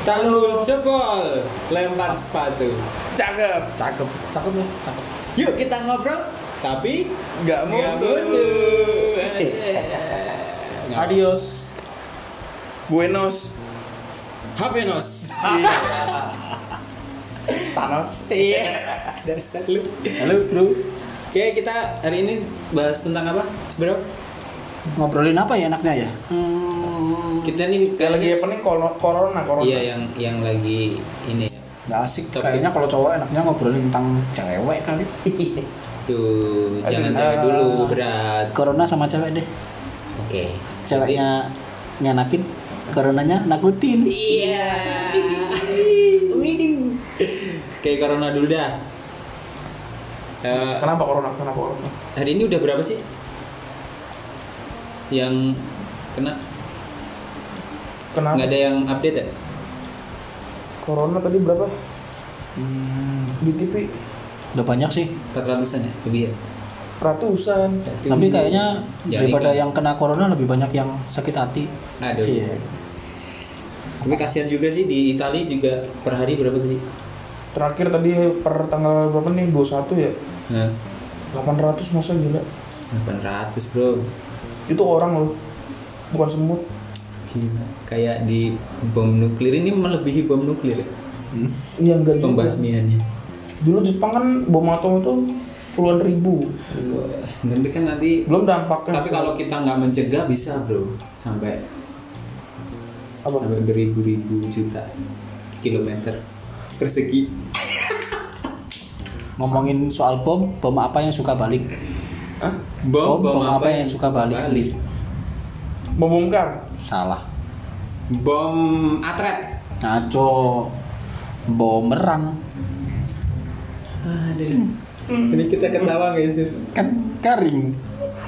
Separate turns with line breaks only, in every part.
Canggung jebol, lempar sepatu.
Cakep.
Cakep, cakep nih, cakep.
Yuk kita ngobrol, tapi
Nggak Eh,
nggak
mundur.
mundur.
Adios.
Buenos. Iya.
Hapenos.
Thanos.
Iya. Dari start lu.
Halo, Bro.
Oke, kita hari ini bahas tentang apa, bro?
Ngobrolin apa ya enaknya ya?
Kita nih
Kayak lagi
kayaknya-
apa nih Kolo- corona corona.
Iya yang yang lagi ini.
Nggak asik.
Tapi-
Kayaknya kalau cowok enaknya ngobrolin tentang cewek kali.
Tuh,
Aduh,
jangan cewek
ah.
dulu berat.
Corona sama cewek deh.
Oke.
Ceweknya nyanakin, coronanya nakutin.
Iya. Oke, corona dulu dah. Eh,
Kenapa corona? Kenapa corona?
hari ini udah berapa sih yang kena?
Kenapa?
Nggak ada yang update ya?
Corona tadi berapa?
Hmm,
Di TV
udah banyak sih.
400-an ya? Lebih ya?
ratusan.
Berarti
Tapi kan.
bisa
kayaknya
jaring
daripada
lah.
yang ya? kena corona lebih banyak yang sakit hati. Iya.
Aduh.
Cie.
Tapi kasihan juga sih di Italia juga per hari berapa tadi?
Terakhir tadi per tanggal berapa nih? 21 ya.
Nah,
800 masa gila.
800 bro.
Itu orang loh. Bukan semut.
Gila. Kayak di bom nuklir ini melebihi bom nuklir ya?
Hmm.
Iya enggak juga.
pembasmiannya.
Dulu Jepang kan bom atom itu puluhan ribu.
Iya.
Tapi kan nanti
Belum dampaknya.
tapi kalau kita nggak mencegah bisa bro sampai
Apa?
sampai beribu-ribu juta kilometer persegi.
Ngomongin soal bom, bom apa yang suka balik?
Hah?
Bom, bom apa
ya?
yang suka balik sendiri?
Bom bongkar.
Salah.
Bom atret.
Ngaco. Bumerang.
Aduh. Ini kita ketawa nggak sih?
Kan garing.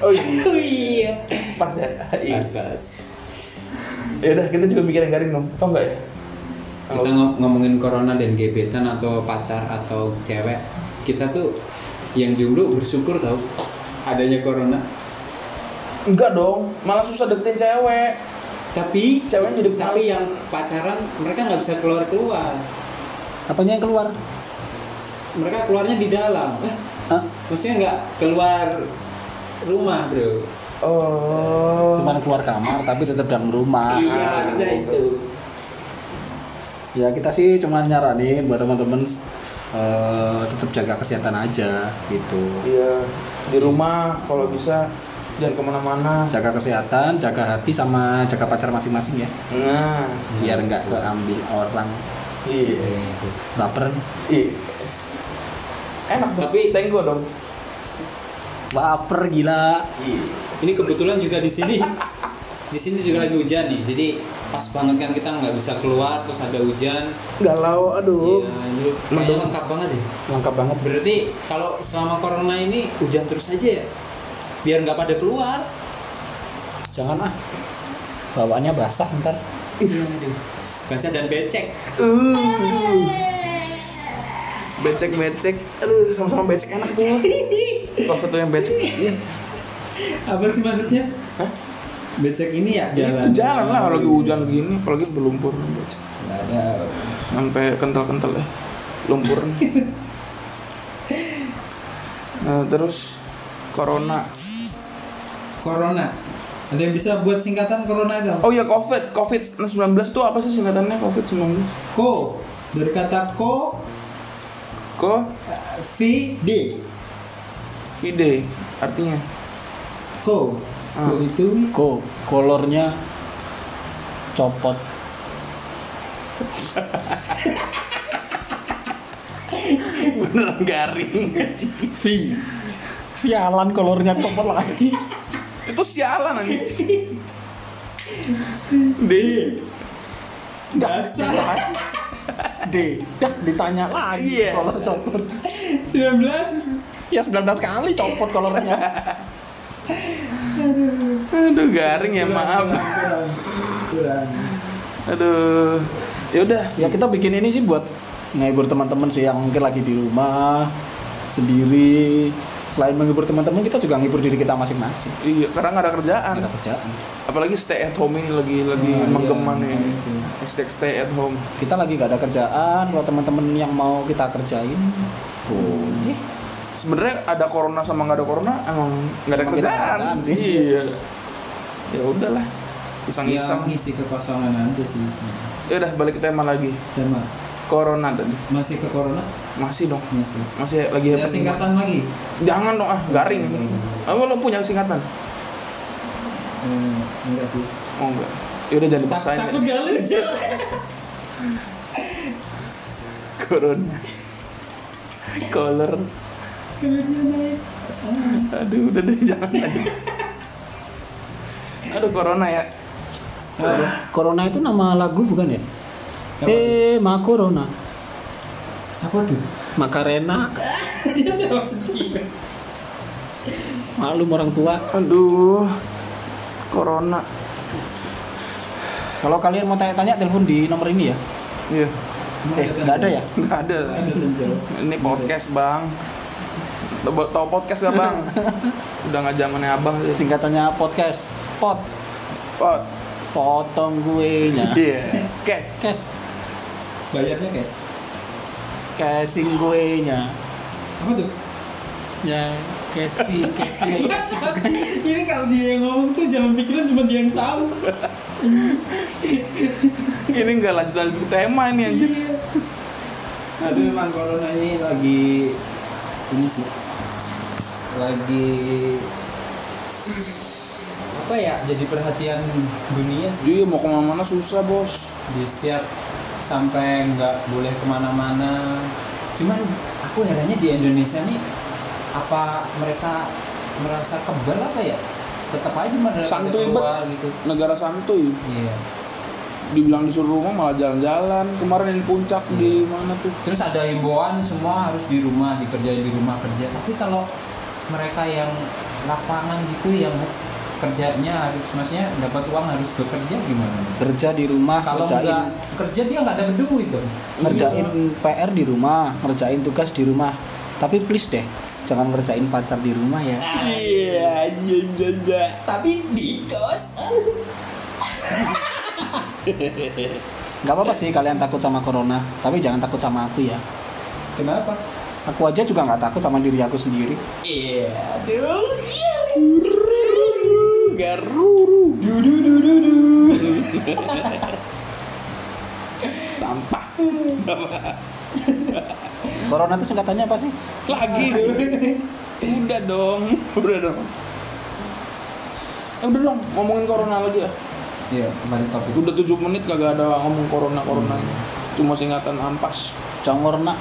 Oh iya.
Oh iya.
Pas ya. Iya.
Pas pas.
Ya udah kita juga mikirin garing dong. Tau enggak ya?
Kita ngo- ngomongin corona dan gebetan atau pacar atau cewek, kita tuh yang jomblo bersyukur tau adanya corona.
Enggak dong, malah susah deketin cewek.
Tapi
Ceweknya jadi
tapi
males.
yang pacaran mereka nggak bisa keluar keluar.
Apanya yang keluar?
Mereka keluarnya di dalam. Eh,
Hah?
maksudnya nggak keluar rumah bro.
Oh.
Cuman keluar kamar tapi tetap dalam rumah.
Iya
Ah,
kerja
gitu.
itu.
Ya kita sih cuman nyaranin buat teman-teman eh, tetap jaga kesehatan aja gitu.
Iya, di rumah kalau bisa jangan kemana-mana.
Jaga kesehatan, jaga hati sama jaga pacar masing-masing ya.
Nah,
Biar nggak keambil orang
iya.
baper. nih.
Iya. Enak tuh.
Tapi-
tenggo dong.
Baper gila.
Iya.
Ini kebetulan juga di sini. Di sini juga lagi hujan nih, jadi pas banget kan kita nggak bisa keluar terus ada hujan.
Galau, aduh.
Iya, ini kayaknya
Mendung.
lengkap banget ya.
Lengkap banget.
Berarti kalau selama corona ini hujan terus aja ya? Biar nggak pada keluar.
Jangan ah. Bawaannya basah ntar.
Basah dan becek.
Uh. Becek becek, aduh sama-sama becek enak tuh. Kalau satu yang becek, iya.
Apa sih maksudnya?
Hah?
Becek ini ya
Itu jalan lah kalau lagi hujan gini, apalagi berlumpur becek.
Nggak ada.
sampai kental-kental ya lumpur nah terus corona
Corona. Ada yang bisa buat singkatan corona itu?
oh ya covid covid 19 itu apa sih singkatannya covid 19
Ko dari kata ko
ko
v d
ide artinya
ko. Ko
Ah.
Hmm.
itu
Kok kolornya copot.
beneran garing
Vi. Vialan kolornya copot lagi.
itu sialan nanti d
dasar
D. Iya, Dah ditanya lagi
Iya.
kolor copot.
19
Ya 19 kali copot kolornya.
aduh garing ya maaf
kurang, kurang.
aduh ya udah
ya kita bikin ini sih buat ngehibur teman-teman sih yang mungkin lagi di rumah sendiri selain menghibur teman-teman kita juga menghibur diri kita masing-masing
Iya, karena nggak ada kerjaan.
ada kerjaan
Apalagi stay at home ini lagi lagi
Oh, iya.
menggemar nih.
Iya.
Hashtag stay at home.
kita lagi nggak ada kerjaan kalau teman-teman yang mau kita kerjain boleh
Sebenarnya ada corona sama nggak ada corona emang nggak ada
Emang kita nggak ada
kerjaan.
kerjaan sih.
Iya. Ya udahlah.
ya
Iseng-iseng.
Iya.
ngisi kekosongan aja sih sebenarnya.
Ya udah balik ke tema lagi.
dan Ma,
Corona tadi.
masih ke corona
Masih dong.
masih
Iya, Masih
Iya,
lagi
ada
happening.
singkatan lagi
Jangan dong ah, garing.
Hmm.
Apa lo punya singkatan?
eh, enggak sih
Oh enggak. Ya udah jangan dipaksain.
takut gak lucu
Corona. Color. Aduh, udah deh jangan lagi. Aduh, corona ya.
corona itu nama lagu bukan ya
Apa?
eh makorona
apa tuh
makarena
dia sama sendiri
malum orang tua
Aduh. Corona.
kalau kalian mau tanya-tanya telepon di nomor ini ya
Iya.
eh nggak ada ya
Nggak ada.
ada tenjol
Ini podcast, Bang. Tau tau podcast gak, Bang? Udah nggak zamannya Abang. sih.
singkatannya podcast pot
Pod.
potong gue nya
Iya. Cash.
cash
bayarnya guys
casing gue nya
apa tuh
ya casing casing
ini kalau dia yang ngomong tuh jangan pikiran cuma dia yang tahu
Ini nggak lanjut lanjut tema ini anjir.
iya aduh emang corona ini lagi ini sih lagi apa ya jadi perhatian dunia sih
Iya, mau kemana-mana susah, Bos.
di setiap sampai nggak boleh kemana-mana cuman aku herannya di Indonesia nih apa mereka merasa kebal apa ya tetap aja mereka
Santuy
keluar gitu
Negara santuy.
iya
dibilang disuruh rumah malah jalan-jalan kemarin di puncak di mana tuh
terus ada himbauan semua harus di rumah dikerjain di rumah kerja tapi kalau mereka yang lapangan gitu yang kerjanya harus maksudnya dapat uang harus bekerja gimana
kerja di rumah
kalau nggak iya.
kerjain
kerja dia nggak dapat duit dong
ngerjain PR di rumah ngerjain tugas di rumah tapi please deh jangan ngerjain pacar di rumah ya
iya janda
tapi di kos
nggak apa-apa sih kalian takut sama corona tapi jangan takut sama aku ya
kenapa
aku aja juga nggak takut sama diri aku sendiri
Iya,
iya, garuru sampah
corona itu singkatannya apa sih
lagi udah dong udah dong eh, udah dong ngomongin corona lagi ya
Iya, kembali topik.
udah 7 menit kagak ada ngomong corona corona
Hmm.
cuma singatan ampas
congorna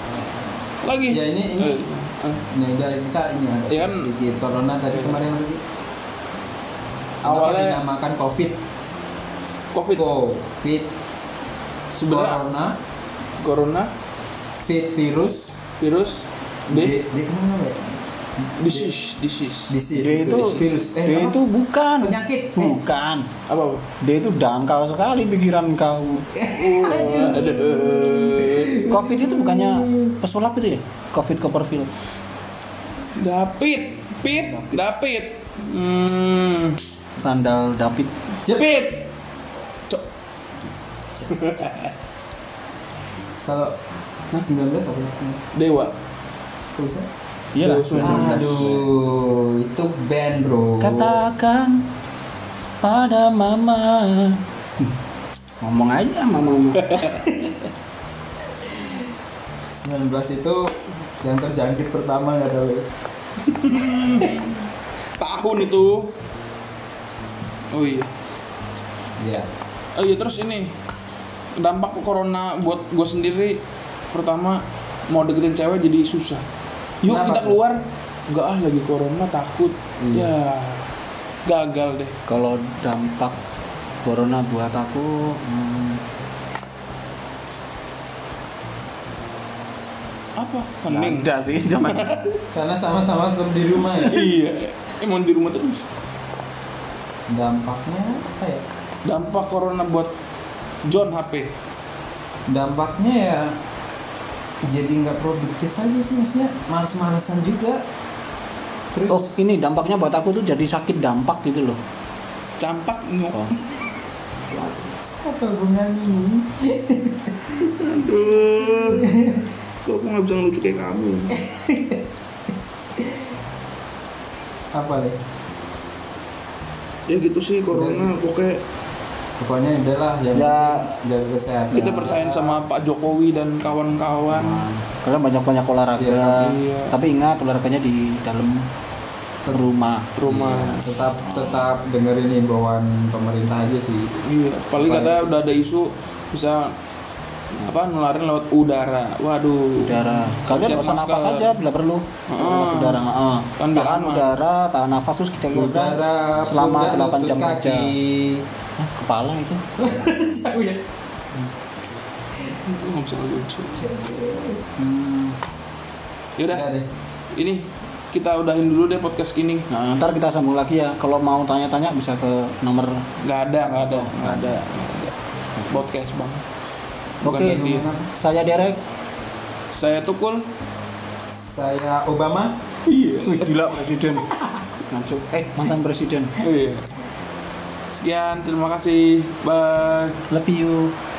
lagi
Ya, ini- ini-
Eh, eh.
Nah, udah kita ini ada
Iya kan?
sedikit corona dari kemarin apa sih? Kenapa
Awalnya-
dinamakan COVID.
covid
COVID.
sebenarnya
corona,
corona
fit virus.
virus D
D, D kemana ya?
disease disease
Disease.
dia itu
virus. Eh,
dia
apa?
itu bukan
penyakit. Eh.
bukan
apa apa
dia itu dangkal sekali pikiran kau
Oh, aduh
covid itu bukannya pesulap itu ya covid Copperfield
David Pit David hmm
sandal David
Jepit Cok.
Kalau nah 19 apa? ya?
Dewa
Kok bisa?
iya lah
Dewa Sembilan Belas.
Aduh, itu band bro.
Katakan pada mama. Ngomong aja
19
mama.
itu yang terjangkit pertama nggak tahu. ya.
tahun itu oh iya
Iya.
oh iya terus ini dampak corona buat gue sendiri pertama mau deketin cewek jadi susah yuk
Kenapa
kita
tuh?
keluar enggak ah lagi corona takut
Iya.
ya gagal deh
Kalau dampak corona buat aku hmm,
apa hening
nggak sih zaman
Karena sama-sama tetap di rumah ya.
iya emang di rumah terus
Dampaknya apa ya?
dampak corona buat John HP
Dampaknya ya jadi nggak produktif aja sih maksudnya males-malesan juga Terus
oh ini dampaknya buat aku tuh jadi sakit dampak gitu loh
Campak nggak?
Oh.
apa hubungannya ini?
Aduh. Kok aku nggak bisa ngelucu kayak kamu?
Apa deh?
Ya gitu sih corona pokoknya
Pokoknya udahlah jangan
Ya.
jaga kesehatan.
kita percayain sama Pak Jokowi dan
Nah.
kawan-kawan.
kalian banyak banyak olahraga
Iya,
iya.
tapi ingat olahraganya di dalam rumah
Rumah.
Iya, tetap tetap dengerin himbauan pemerintah aja sih.
Iya, paling
ya?
katanya udah ada isu bisa apa nularin lewat udara. Waduh.
udara kalian
Siap
nggak usah
masker.
nafas aja bila perlu
Heeh.
udara heeh.
Kan biar
tahan
aman.
udara tahan nafas terus kita kira
Udara
selama
pundak,
8
lutut,
jam
kaki.
kerja. Hah, Eh, kepala itu
Jauh ya.
Aku nggak bisa ngelucu.
hmm.
Yaudah,
Iya,
Udah deh.
ini kita udahin dulu deh podcast ini.
nah ntar kita sambung lagi ya kalau mau tanya-tanya bisa ke nomor
Nggak ada, nggak ada, nggak ada. nggak ada. Podcast bang. Bukan
Oke.
dari dia.
saya derek
Saya Tukul.
Saya Obama.
Iya.
Wih, gila presiden ngaco eh mantan presiden
Sekian, terima Iya. kasih. Bye.
love you